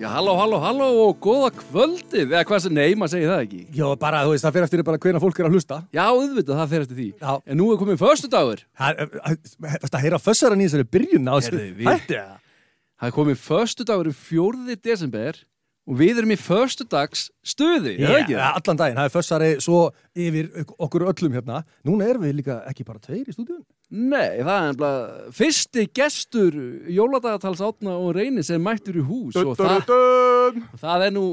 Já, halló, halló, halló og góða kvöldið eða hvað sem, nei, maður segir það ekki Já, bara, þú veist, það fyrir eftir bara hvena fólk er að hlusta. Já, auðvitað, það fer eftir því Já. En nú er komið föstudagur Það er að heyra fössaran í þessari byrjun á þessu. Heyrðu, við- Hætti það? Það er komið föstudagur um 4. desember og við erum í föstudags stuði Já, er það ekki það? allan daginn. Það er fössari svo yfir ok- okkur öllum hérna. Núna erum við líka ekki bara tveir í stúdíun. Nei, það er ennbla fyrsti gestur jóladagatals átna og reyni sem mættur í hús og það, það er nú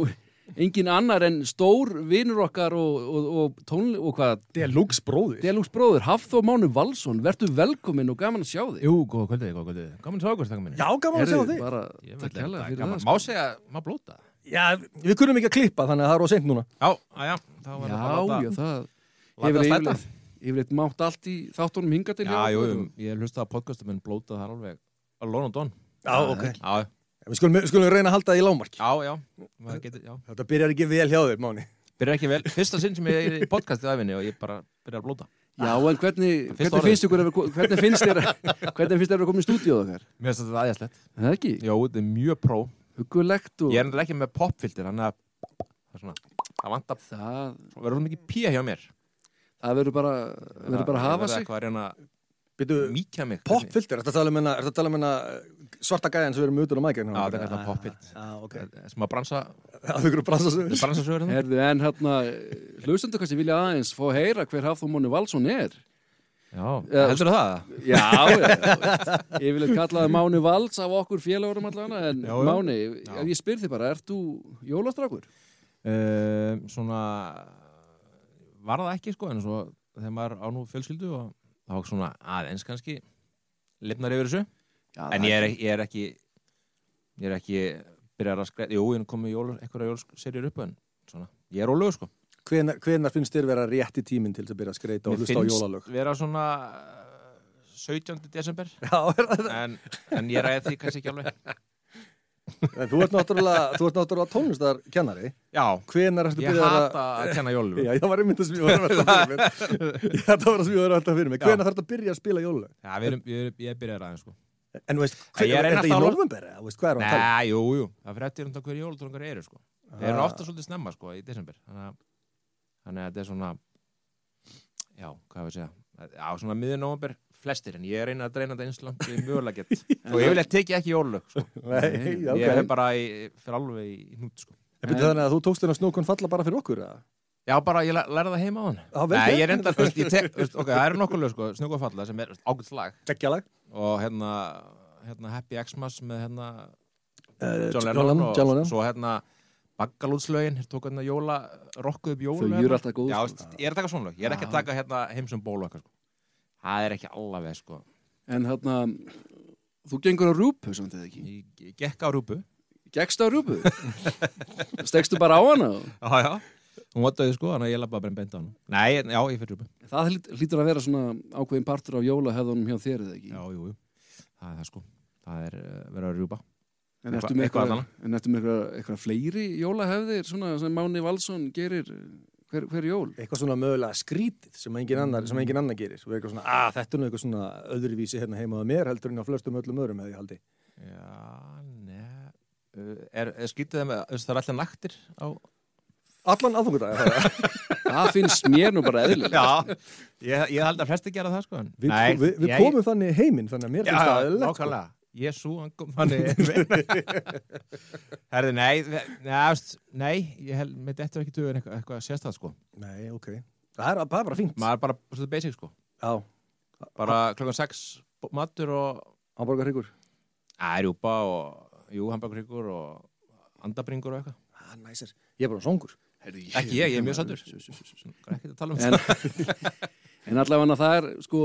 engin annar en stór vinnur okkar og, og, og tónli og hvað, Deluxe bróðir. Delungs bróður, Hafþór Máni Valsson, vertu velkominn og gaman að sjá þig Jú, góða kvöldið, góða kvöldið. Gaman sá okkur, takk minni. Já, gaman að sjá Heyrðu, þig. bara, Ég veit takk ekki hella það sko. fyrir gaman. það sko. Má segja, má blóta. Já, við kunum ekki að klippa þannig að það er óseint núna. Já, aðja, þá verður það að Já, já, láta. það Láta hefur það slæta. yfirleitt, yfirleitt mátt allt í þáttunum hinga til Já, hjá jú, okkur. jú, ég hlusta að podcastum minn blóta það er alveg. Alone on Don. Já, ok. Já, Ah, Við skulum, við skulum reyna að halda það í lámarki. já, já. maður Getur, já. Þetta byrjar ekki vel hjá þér, Máni. Byrja ekki vel. Fyrsta sinn sem ég er í podcastið aðvinni og ég bara byrja að blóta. Já, en hvernig, Fyrsta hvernig orðið. finnst ykkur að vera- hvernig finnst þér að- hvernig finnst þér að koma í stúdíóð okkar? Mér finnst þetta aðeinslegt. Er Það ekki? Jó, þetta er mjög pró. Huggulegt og Ég er endur ekki með popfilter, þannig að það er svona, það vantar, það, svo verður mikið pía hjá mér. það verður bara, verður bara að hafa Ég verður sig eitthvað að reyna Býtu, að mýkja mig. popfilter, ertu að tala um hérna- ertu að tala um hérna svarta gæjan sem við erum utan á mækja? Já, þetta er kallað popfilt. Já, ok. Sem að bransa, Það er ykkur bransasöður. bransasögur hérna. Herðu, en hérna, hlustendur kannski vilja aðeins fá að heyra hver Hafþór Máni Valsson er Já, Já, heldur það? Já, já ég vil kallaði Máni Vals af okkur félagurum allavega en Já, já. Máni, Já. ef ég spyr þig bara, ert þú jólastrákur? uh, svona var það ekki sko en svo þegar maður á nú fjölskyldu og þá svona aðeins kannski lifnar yfir þessu Já, en ég er, ég er ekki ég er ekki byrjar að skræða jú, ég er komið jól, einhverja jólserjur upp en svona, ég er ólega sko Hvenar, hvenar finnst þér vera rétti tíminn til þess að byrja að skreita og Mér hlusta á jólalög? vera svona eh, 17. desember Já, er það- en, en ég ræði því kannski ekki alveg en þú ert náttúrulega, þú ert náttúrulega tónlistar kennari. já, Hvenar ertu ég byrjað að... hata að kenna jólum Já, það var einmitt að smíða verða alltaf fyrir mér. Ég- Það var að smíða verða alltaf fyrir mér. Já. Hvenar þarf að byrja að spila jólalög? já, við erum, við erum, ég byrjar aðeins sko En þú veist, Ég er hver, er einn þetta í alltaf á- november? eða, Þú veist, hvað er það að tala? Nei, jú, jú, það fyrir eftir um það hverju jólatónungar eru sko. Þeir eru Ah. ofta svolítið snemma sko, í desember Þannig að, þannig að þetta er svona Já, hvað hefur að segja Já, svona miður nómber flestir En ég er reyna að dreina þetta eins langt og ég mjögulega get Og ég vil að tekja ekki jólug sko. Ah, Nei, já, Ég er ok. bara í, fyrir alveg í hnút sko. En byrju þannig að þú tókst þennan snókun falla bara fyrir okkur, eða? Já, bara ég læ- lærði það heima á hann Já, vel Nei, gert. ég er enda, veist, ég tek veist, Ok, það eru nokkuð lög sko, snjúka falla sem er ágætt lag Gekkjalag. og hérna, hérna Happy Xmas með hérna Eh, John Lennon, og John Lennon. svo hérna Baggalútslögin, hér tók hérna jóla rokkuð upp jóla Þau hérna. eru alltaf góð, Já, sko. veist, ég er að taka svona lög, ég er ekki að taka hérna heimsum ból og eitthvað sko. Það er ekki allaveg sko En hérna, þú gengur á rúpu samt eða ekki? Ég ég gekk á rúpu Gekkst á rúpu? Stegstu bara á hana? Já, já Hún votaði sko, þannig að ég labba bara beint á hann Nei, já, ég fyrir rúpu Það hlýt- hlýtur að vera svona ákveðin partur af jólahefðunum hjá þér eða ekki? Já, jú, jú Það er það sko Það er uh, verið að rjúpa En Eitthvað- ertu með eitthvað eitthvað, annað. en ertu með eitthvað, eitthvað fleiri jólahefðir svona sem Máni Valsson gerir hver, hver jól? eitthvað svona mögulega skrítið sem Mm. engin annar, sem engin annar gerir og eitthvað svona, að þetta er nú eitthvað svona öðruvísi hérna heima á mér heldur en á flestum öllum öðrum hefði ég haldi Já, ne Uh, Er, er skýtið þeim, að- það er alltaf naktir á... allan aðfungudag Það finnst mér nú bara eðlilega. Já, ég, ég held að flesti gera það sko en- við, Nei, við, við ég- komum þannig heiminn þannig að mér finnst það Já, eðlilegt, sko. nákvæmlega Jésu, hann kom þannig Herði, nei ve- Nei, ást, nei ég held með þetta er ekki dugur eitthvað, eitthvað sérstæð sko nei, ok, það er bara, bara fínt maður er bara svolítið basic sko já, bara klokkan 6 bo- matur og áborgar hyggur ærjúpa og jú, hambakríkur og andabringur og eitthvað ah, næsir, ég er bara songur Heyrðu, Ekki ég, ég er mjög sattur. Hvað er ekki að tala um En, en allavega það er sko,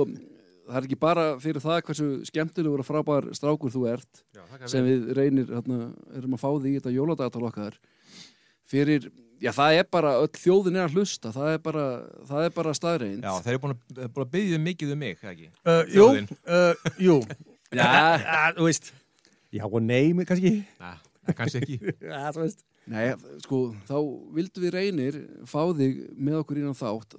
það er ekki bara fyrir það hversu skemmtilegur og frábær strákur þú ert það? sem við reynir, hérna, erum að fá því í þetta jóladagatál okkar fyrir, já það er bara öll þjóðin er að hlusta, það er bara það er bara staðreind Já, þeir eru búin að, búin að byggja mikið um mig, eða ekki? uh, jú, Þjóðin. uh, jú Já, Ah, þú veist já og nei, mér kannski Nei, það kannski ekki. já, þú veist nei, sko, þá vildum við reynir fá þig með okkur innan þátt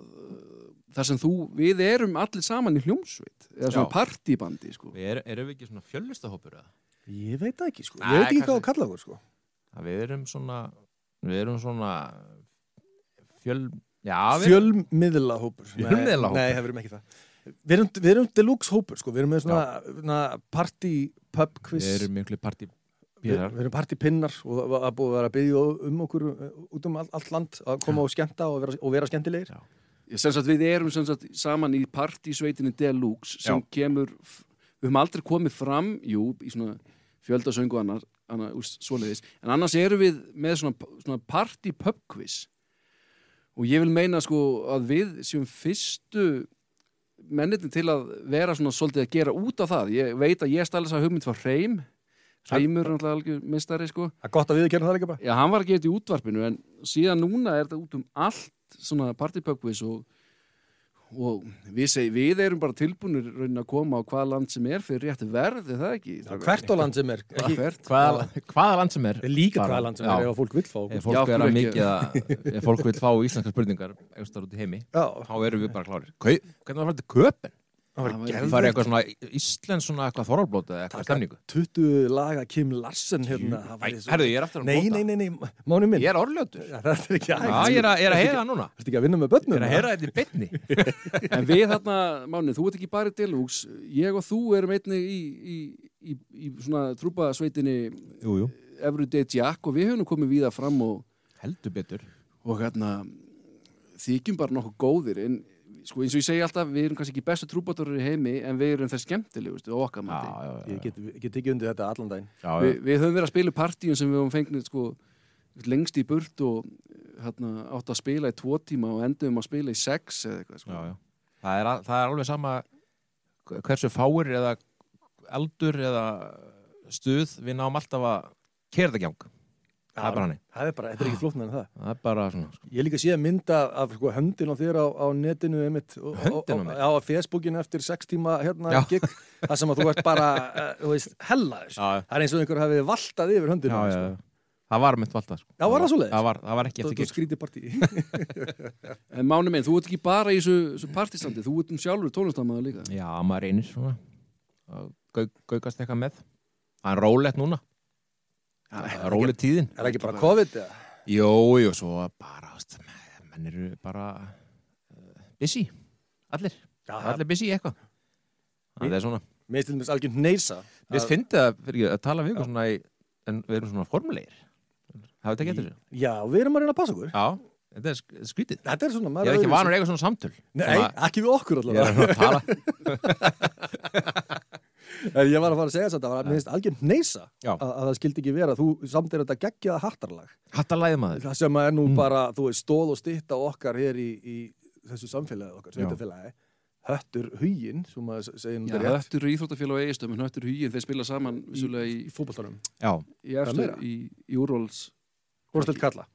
þar sem þú, við erum allir saman í hljómsveit eða svona Já. partýbandi, sko Við er, erum við ekki svona fjöllustahópur, eða? ég veit það ekki, sko, Nei, ég veit ekki hvað kannski- að kalla okkur, sko að við erum svona við erum svona fjöl já, við, Fjölmiðla hópur Fjölmiðlahópur? Nei, það verðum ekki það Við erum, við erum deluxe hópur, sko Við erum með svona, svona party pub quiz við erum miklu partí Við, við erum partypinnar og það var- það er búið að vera að byggja um okkur eh, út um all, allt land að koma og skemmta og vera, og vera skemmtilegir. Já. Ég, sem sagt, við erum sem sagt, saman í partysveitinni Deluxe sem Já. kemur, f- við höfum aldrei komið fram, jú, í svona fjöldasöngu annar, annar úst, svoleiðis, en annars erum við með svona, svona party pub quiz og ég vil meina sko að við séum fyrstu mennitin til að vera svona svolítið að gera út af það. Ég veit að ég stæla þess að hugmynd var hreim, hreimur er náttúrulega algjör mistari sko. Það er gott að við kennum það líka bara. Já, hann var ekki eitt í útvarpinu en síðan núna er þetta út um allt svona partypökkvis og, og við segjum, við erum bara tilbúinir raunin að koma á hvaða land sem er fyrir rétt verð, er það ekki? Það er hvert á land sem er. Ekki, hvert? hvaða, hvaða land sem er það er líka Bara- hvaða land sem já. er ef að fólk vil fá. okkur. ef fólk Já, er af að hverju mikið að, ef fólk vil fá íslenska spurningar einhverstaðar út í heimi Já, þá erum við bara klárir Kau, hvernig var þetta köpen? það var Það var- það er gerður. eitthvað svona íslensk svona eitthvað þorvalblóta eða eitthvað stemningu 20 laga Kim Larsen hérna. það var Æ, í svo- herðu, ég er aftur að Nei, nei, nei, nei, mánu minn. ég er orðljótur Já, Það er ekki Já, ég er að, ég er að heyra það núna Ertu ekki að vinna með Ég börnum? er að heyra þetta í beinni En við þarna, Máni, þú ert ekki bara í Deluxe, ég og þú erum einnig í, í, í, í svona trúpasveitinni Jú, jú Everyday Jack og við höfum nú komið víða fram og, Heldur betur og hérna, þykjum bara nokkuð góðir en sko eins og ég segi alltaf, við erum kannski ekki bestu trúbátorar í heimi en við erum þær skemmtilegustu á okkar mati. Ég get, get ekki undir þetta allan daginn. já, Vi, við höfum verið að spila í partíum sem við höfum fengnið sko, lengst í burt og hérna, átt að spila í tvo tíma og endum að spila í sex eða eitthvað sko. já, já. Það, er, al- það er alveg sama hversu fáir eða eldur eða stuð við náum alltaf að kerða gjang það er bara hannig Það er bara, þetta er ekki flóknar en það. það er bara svona sko. Ég hef líka síðan mynda af sko, höndin á þér á, á netinu einmitt, og- Höndin á og- mér? Já, á Facebookinu eftir sex tíma hérna Já. gig, það sem að þú ert bara uh, þú veist, hellaður. sko. Já, já. Það er eins og einhver hafið valtað yfir sko. höndinu. já, já, já. það var mitt valda sko. Já, var það svoleiðis? það var, það var ekki Þú, eftir þú gig skrítið partí. en mánu minn, þú ert ekki bara í þessu, þessu partistandi þú ert um sjálfur tónlistamæður líka sko. já, maður reynir svona að gau- gaukast eitthvað með það er rólegt núna róleg tíðin er ekki bara COVID eða? jú, jú, svo bara þú veist, menn eru bara uh, busy, allir Já, allir busy í eitthvað það er svona Mér stilum þess algjörn neysa. Við finnum það fyrir ekki að tala við ykkur svona í, en við erum svona formulegir Hafið þetta getur þessu? Já, við erum að reyna að passa okkur. Já, þetta er sk- skrítið Þetta er svona Ég maður er ekki öðruvísi. vanur að eiga svona samtöl Nei, ekki við okkur Ég allavega. er að tala En ég var að fara að segja þess að það var minnst algjörn neysa Já. að, að það skildi ekki vera. Þú samt er þetta geggjaða hattarlag. Hattalæði maður Það sem er nú Mm. bara, þú veist, stóð og stytta okkar hér í, í þessu samfélagi okkar, sveitafélagi. Höttur huginn, sem maður segir nú Já, þetta rétt, höttur í Íþróttafélag og eigistömmin, höttur hugin, þeir spila saman vissulega í, í fótboltanum. Já, í eftir meira? í, í úrvals Úrstöld kalla.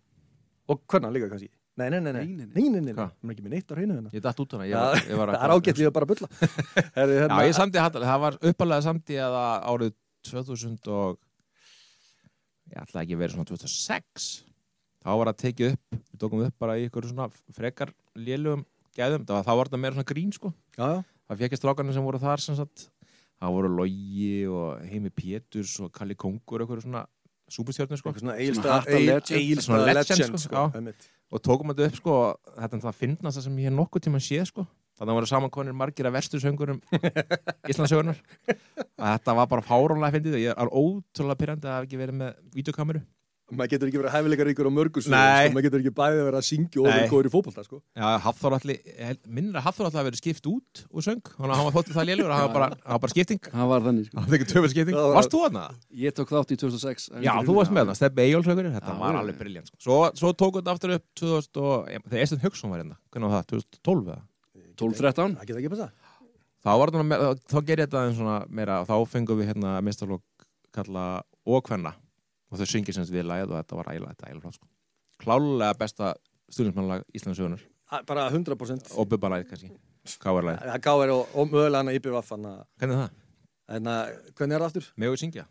Og hvernig líka kannski? Nei, nei, nei, nei, Nei, nei, nei, nei. nei, nei, nei. Hvað? Mér er ekki með neitt á hreinu hérna. ég datt út hana ég var, ég var Það er ágætt, ég er bara að bulla. Herri, Já, hérna, ég samdi hattalæði Það var uppalega samdi að það árið 2000 og Ég ætla ekki að vera svona 2006 Þá var það tekið upp Við tókum upp bara í ykkur svona frekar lélugum gæðum Það var, þá var þetta meira svona grín sko já, já. það fekk ég strákarnir sem voru þar sem sagt, það voru Logi og Heimi Péturs og Kalli Kongur eitthvað svona súpustjörnir sko Eitthvað svona Svona Egilstað- Harta Egil- legend. Egilstað Svona legend, legend, sko. sko. Já. einmitt. og tókum þetta upp sko og þetta er það fyndnasta sem ég hef nokkuð tíma séð sko þannig að voru samankonir margir af verstu söngurum Íslandsögunar að þetta var bara fárónlega fyndið og ég er ótrúlega pyrrandi að hafa ekki verið með videokameru maður getur ekki verið hæfileikar ykkur á mörgur sko. Nei. maður getur ekki bæðið að vera að syngja og Nei. vera góður í fótbolta sko. Já, Hafþór allir, minnir að Hafþór allir að verið skipt út úr söng, þannig að hann var þóttið það lélur hann var bara, hann var bara skipting, það var þannig sko. hann var ekki töfum skipting Það var- Varst þú hann ég tók þátt í 2006 Já, þú varst með það, Steppi Eyjólfsökurir, þetta Já, var já. alveg briljant sko. svo, svo tók þetta aftur upp 2000 og, ég- þegar Eistun Hugson var hérna, hvernig var það, 2012 eða? 12-13 það getur ekki að passa Þá var þetta, meira- þá- þá gerði þetta aðeins svona meira, og þá fengum við hérna mestarlokk kalla og hvenna og þau syngir sem sagt við lagið og þetta var ægilega, þetta ægilega flott sko. Klálega besta stuðnismannlag Íslandsögunar A- bara 100% og bubba lagið kannski, káarlagið. það gáir og, og mögulega hann að íbjöf af hann Hvernig er það? en að, hvernig er það aftur? Megum við syngja?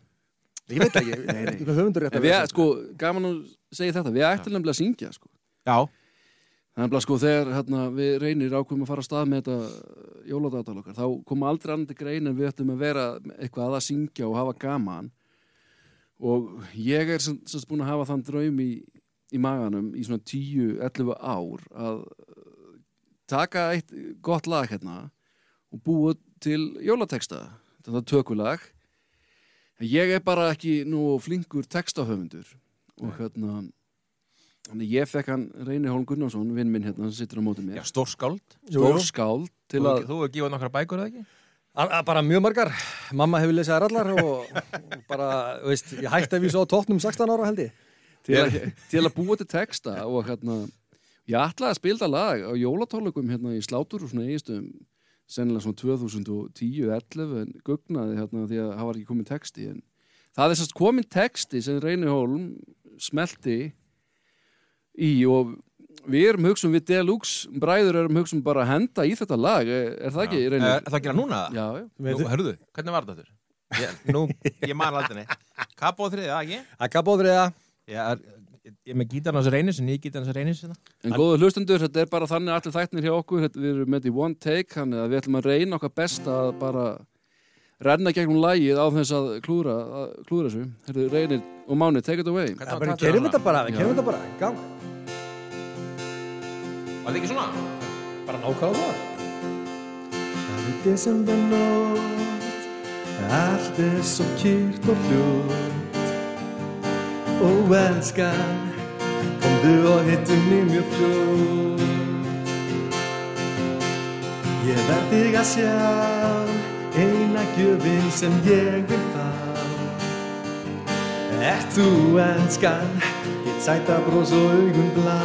ég veit ekki, nei, nei. höfundur rétt en við, sko, gaman að segja þetta við ættum nefnilega að syngja sko. Já, Þannig að sko þegar hérna, við reynir ákveðum að fara að stað með þetta jóladagatal okkar, þá koma aldrei annað til grein en við ættum að vera eitthvað að syngja og hafa gaman og ég er sem, sem búin að hafa þann draum í, í maganum í svona 10-11 ár að eh, taka eitt gott lag hérna og búa til jólateksta þetta er tökulag ég er bara ekki nú flinkur textahöfundur og hérna þannig að ég fekk hann Reyni Hólm Gunnarsson vinn minn hérna sem sittur á móti Já, mér stórskáld stórskáld til Þú að þú hefur gefað nokkra bækur eða ekki? Að- að Bara mjög margar. Mamma hefur lesið þær allar og og bara, veist, ég hætti að vísa á tóknum 16 ára held ég. til að, til að búa til texta og hérna, ég ætlaði að spilda lag á jólatólukum hérna í slátur og svona eigistum sennilega svona 2010-11 en gugnaði hérna því að það var ekki komin texti en það er sérst komin texti sem Reyni Hólm smelti í og við erum hugsun við Deluxe bræður erum hugsun bara að henda í þetta lag er, er það ekki Reyni? Er það Eh, að gera núna? Já, já Nú, hörðu, hvernig var þetta þurr? Ég, nú, ég man aldrei neitt Kappa og þriðið, ekki? Akka bóðriða. Ég er, ég er með gítarn á þessu reynis en ég gítarn á þessu reynis hérna. En góðu hlustendur, þetta er bara þannig allir þættinir hjá okkur, þetta, við erum með þetta í one take þannig að við ætlum að reyna okkar besta að bara renna gegnum lægið á þess að klúra, að klúra þessu Herðu, reynir og máni, take it away Hvernig Já, var bara, takturinn kerum þarna? þetta bara, við kerum þetta bara. Gang. Var þetta ekki svona? Bara nákvæmlega það. Það er desembernótt, allt er svo kýrt og hljótt. Ó, elskan, komdu og hittu mig mjög fljótt. Ég verð þig að sjá, eina gjöfin sem ég vil fá. Ert þú elskan, ég sæta brós og augun blá.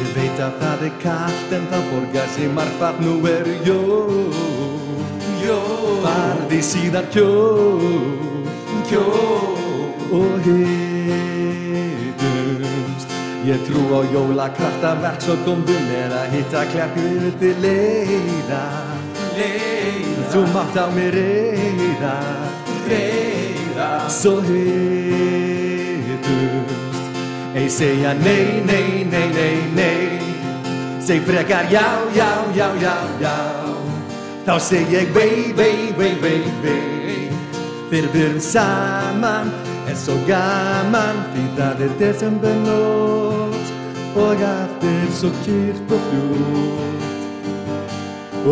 Ég veit að það er kallt en það borgar sig margfart nú eru jól Jól Farði síðan kjól Kjól Og hittumst Ég trú á jólakraftaverk svo komdu með að hitta klærkur til leiða Leiða Þú mátt á mig reyða Reyða Svo hittumst Ei segja nei, nei, nei, nei, nei Seg frekar já, já, já, já, já Þá seg ég vei, vei, vei, vei, vei Fyrir við erum saman En svo gaman Því það er desembernótt Og allt er svo kýrt og fljótt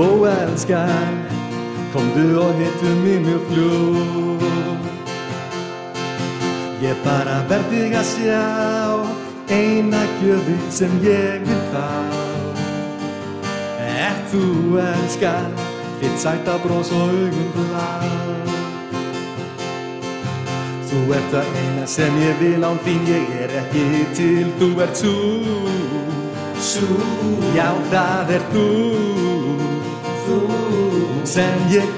Ó, elskan Komdu og hittu mig mjög fljótt Ég bara verð þig að sjá Eina gjöfin sem ég vil fá Ert þú elskan Þitt sæta brós og augum blá Þú ert það eina sem ég vil án þín Ég er ekki til Þú ert þú Sú Já það er þú Þú Sem ég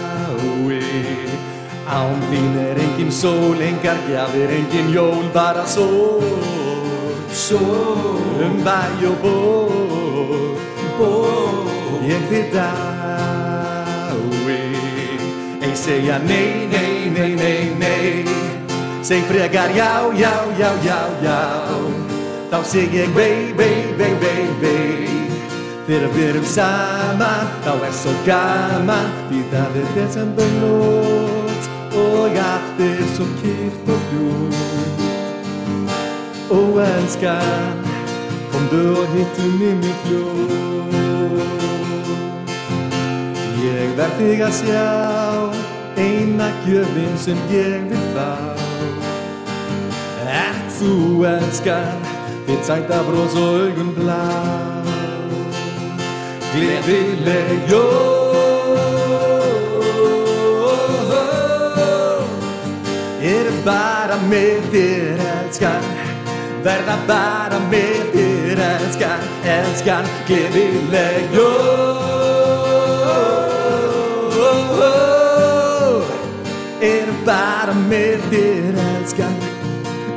drái Án þín er engin sól, engar gjafir, engin jól, bara sól Sól Um bæ og ból Ból Ég þið dái Ei segja nei, nei, nei, nei, nei Seg frekar já, já, já, já, já Þá seg ég vei, vei, vei, vei, vei Þegar við erum saman, þá er svo gaman Því það er desember nótt Og allt er svo kýrt og bjúrt Ó, elskan, komdu og hittu mig mjög fljótt Ég verð þig að sjá eina gjöfin sem ég vil fá Ert þú elskan, þitt sæta brós og augun blá Gleðileg jól Er bara með þér elskan Verða bara með þér elskan Elskan, gleðileg jól Er bara með þér elskan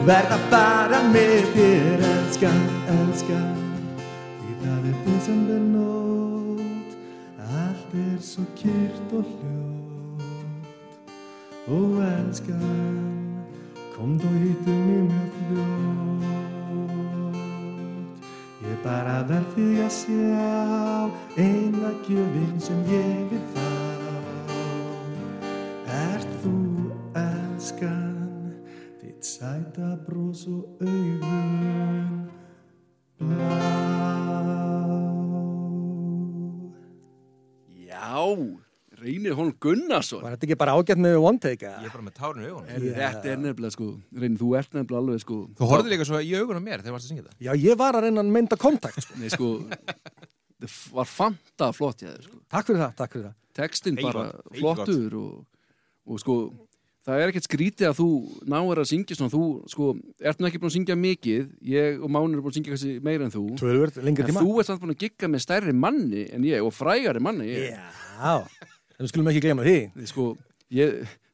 Verða bara með þér elskan Elskan Því það er desember nótt Allt er svo kýrt og hljótt Ó elskan, komdu og hittu mig mjög fljótt Ég bara verð þig að sjá Eina gjöfin sem ég vil fá Þitt sæta brós og augun blá Já, Reynir Holm Gunnarsson Var þetta ekki bara ágætt með one take? Ég eða? er bara með tárinu í augunum. Heyrðu, Þetta er nefnilega sko, Reynir, þú ert nefnilega alveg sko Þú horfði líka svo í augunum mér þegar varst að syngja það. Já, ég var að reyna að mynda kontakt sko. Nei sko, það f- var fanta flott ég sko. Takk fyrir það, takk fyrir það Textin Nei, bara gott, nei, flottur og, og sko, það er ekkert skrítið að þú náir að syngja svona, þú sko, ert nú ekki búin að syngja mikið ég og Mánur er búin að syngja kannski meira en þú Tvöður, lengri en tíma þú ert samt búin að gigga með stærri manni en ég og frægari manni en ég. Já, en við skulum ekki gleyma því Þið, sko, ég,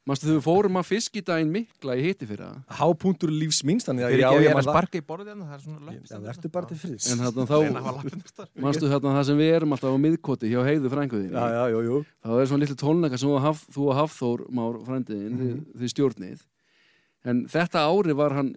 manstu þau fórum að fiskidaginn mikla í hitti fyrir það Hápunktur lífs míns, þannig að Fyrir ekki að ég er man að það. sparka í borðið hérna, það er svona löpp. Já, verður bara til friðs en þarna Reyna að hafa þá, lappirnar staðar. manstu þarna það sem við erum alltaf á miðkoti hjá heiðu frænguðinni Já, já, jú, jú þá er svona litlu tónleika sem þú og Haf- þú og Hafþór Már frændiðin Mhm. mm þið stjórnið en þetta ári var hann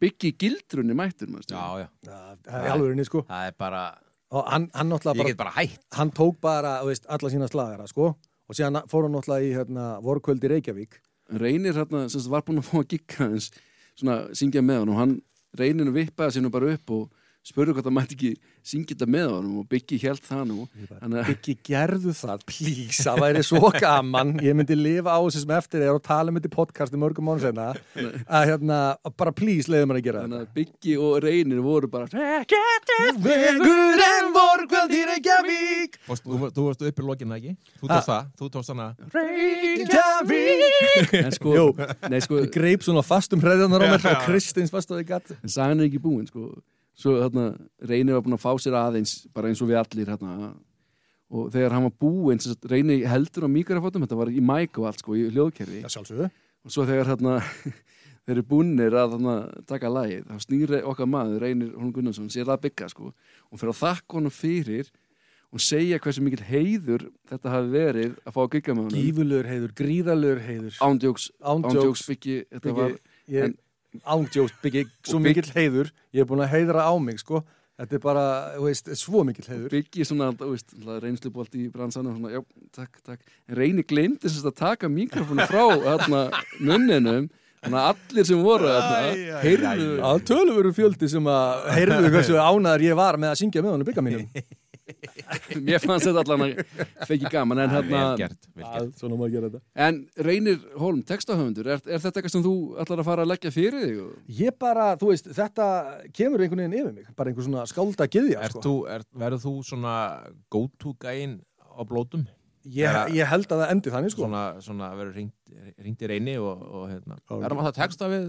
byggi gildrunni mættur manstu. Já, já. Já, Það er alveg henni sko Það er bara, Og hann, hann náttúrulega ég bara, get bara hætt. hann tók bara, þú veist, alla sína slagara sko Og síðan fór hann náttúrulega í hérna, vorkvöld í Reykjavík reynir hérna sem sagt, var búinn að fá að gigga hans svona syngja með hann og hann reynir að vippaði sér nú bara upp og spurði hvort það mætti ekki syngja þetta með honum og byggi held það nú Þannig að- Byggi, gerðu það, please, það væri svo gaman Ég myndi lifa á þessu sem eftir er og tala um þetta í podcasti mörgum mánu senna að hérna, að bara please leiðum hann að gera þannig að byggi og reynir voru bara þetta Vegur en vorkvöld í Reykjavík Fórst- Þú þú varst upp í lokinu ekki? Þú tókst það, þú tókst hana. Reykjavík en sko, Jú. nei, sko Ég greip svona fastum hreðanar á mér og Kristins fast á því gatt en sagan er ekki búin sko. svo hérna, reynir var búin að fá sér aðeins bara eins og við allir hérna. og þegar hann var búinn sem sagt, reynir heldur á mikrofótum, þetta var í mæk og allt sko, í hljóðkerfi sjálfsögðu og svo þegar hérna, þeir eru búnir að hérna, taka lagið, þá snýr okkar maður reynir Hólm Gunnarsson, sér það að bygga sko, og fyrir að þakka honum fyrir og segja hversu mikill heiður þetta hafi verið að fá að gigga með honum Gífurlegur heiður, gríðarlegur heiður ándjóks, Ándjóks ándjóks byggi þetta Biggi, var, ég, en- ándjóst Biggi, svo Og Biggi- mikill heiður ég er búin að heiðra á mig, sko þetta er bara, þú veist, svo mikill heiður byggi svona, þú veist, reynslubolt í bransanum, svona, já, takk, takk en Reyni glemdi sem sagt að taka mikrofonu frá þarna, munninum þannig að allir sem voru þarna heyrðu, að tölveru fjöldi sem að heyrðu hversu ánæður ég var með að syngja með honum bygga mínum mér fannst þetta allan að fekki gaman, en Vel hérna gert, vel gert. að, svona má ég gera þetta en Reynir Holm, textahöfundur, er, er þetta eitthvað sem þú allar að fara að leggja fyrir þig? og- ég bara, þú veist, þetta kemur einhvern veginn yfir mig, bara einhver svona skálda gyðja, Ert sko þú, er, verður þú svona go-to-gæin á blótum? ég, ég held að það endi þannig, sko Svona, svona verður ringt, ringt í reyni og, og hérna. Já, Verður maður það texta við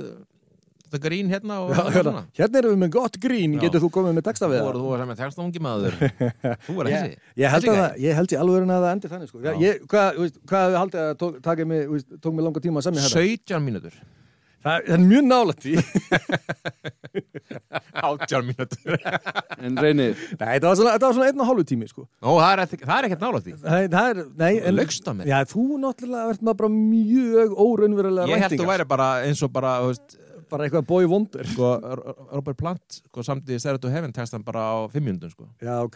þetta grín hérna og Já, hérna, hérna erum við með gott grín, Já. getur þú komið með texta Þú við voru þú var sem er texta ungi maður. þú var Ég, þessi. ég held Þessi að gæi. það, ég held ég alveg að það endi þannig sko. Já. ég, hvað, þú veist, hvað hefði haldið að tók, taka mig, þú veist, tók mig langa tíma að semja þetta? 17 mínútur. Það, það er mjög nálægt því. 18 mínútur. En Reynir, Nei, það var svona, þetta var svona einn og hálfu tími sko. Nó, það er, ekki- það er ekkert nála því. Það, það er, nei, Þú laugst að mér. Já, þú náttúrulega verður maður bara mjög óraunverulega Ég held þú væri bara eins og bara, þú veist, Bara eitthvað bói vondur. sko, R- R- Robert Plant, sko, samt í Stereo to Heaven textan bara á 5 mínútum, sko. Já, ok.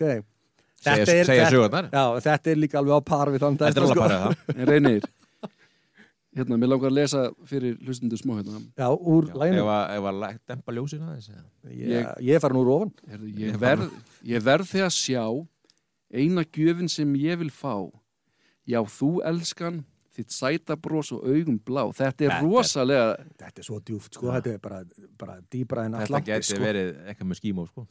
Segja- Þetta er- segja þetta- sko- sögurnar. Já, þetta er líka alveg á par við þann Þetta er alveg bara það. en Reynir hérna, mér langar að lesa fyrir hlustundu smá hérna Já, úr Ef læginu. að- ef að læ- dempa ljósina aðeins. eða? Ég, ég er farin úr ofan. Herðu, ég, verð, ég verð þig að sjá eina gjöfin sem ég vil fá já þú elskan þitt sæta brós og augum blá þetta er Þetta er- rosalega Þetta er svo djúft, sko. Þetta er bara, bara dýbra en Þetta allantis, geti sko. verið eitthvað með skímó, sko.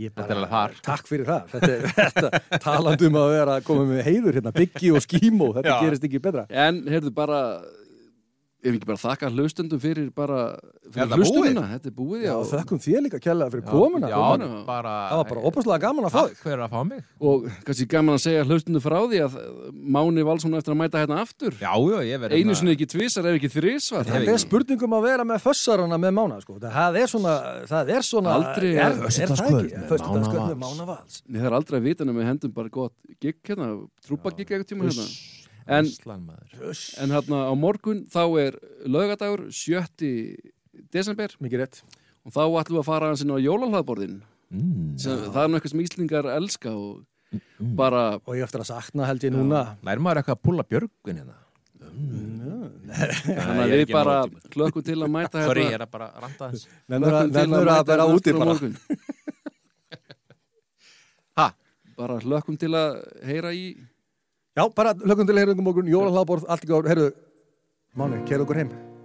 Ég Þetta er alveg þar. Takk fyrir það. Þetta, þetta talandi um að vera að koma með heiður hérna, byggi og skímó, þetta Já. gerist ekki betra. en heyrðu bara ef ekki bara þakka hlustundum fyrir bara Er fyrir það hlustununa, þetta er búið Já, já, og þökkum þér líka kjærlega fyrir komuna. Já, komuna. já, bara, það var bara opaslega gaman að fá Takk þig. fyrir að fá mig og kannski gaman að segja hlustundu frá því að eh, Máni Valsson á eftir að mæta hérna aftur Já, já, ég hérna verður einu sinni ekki tvisar ef ekki þrisvar Hef Það er spurningum að vera með fössarana með mána, sko. Það er svona, það er svona, Aldrei er, er, er það Föstudagskvöld ekki? með Föstudagskvöld með Mána mána vals. Nei, það er aldrei að vita nema við hendum bara gott gig hérna, trúpa gig eitthvað tíma hérna En- Íslandmaður En hérna á morgun þá er laugadagur 7. desember Mikið rétt. og þá ætlum við að fara hans inn á jólalhlaðborðin mm. sem það er nú eitthvað sem Íslingar elska og bara Og ég eftir að sakna held ég núna. Lær maður eitthvað að púla björgvin hérna Mm. Þannig að við bara Hérna- klökkum til að mæta Sorry, ég er að bara ranta þess Klökkum til Nennur að vera mæta hérna úti aftur á bara morgun. Ha? Bara klökkum til að heyra í Já, bara lögum til að heyra um morgun, jólahlaðborð, allt í góður Herru, Máni, kæra okkur heim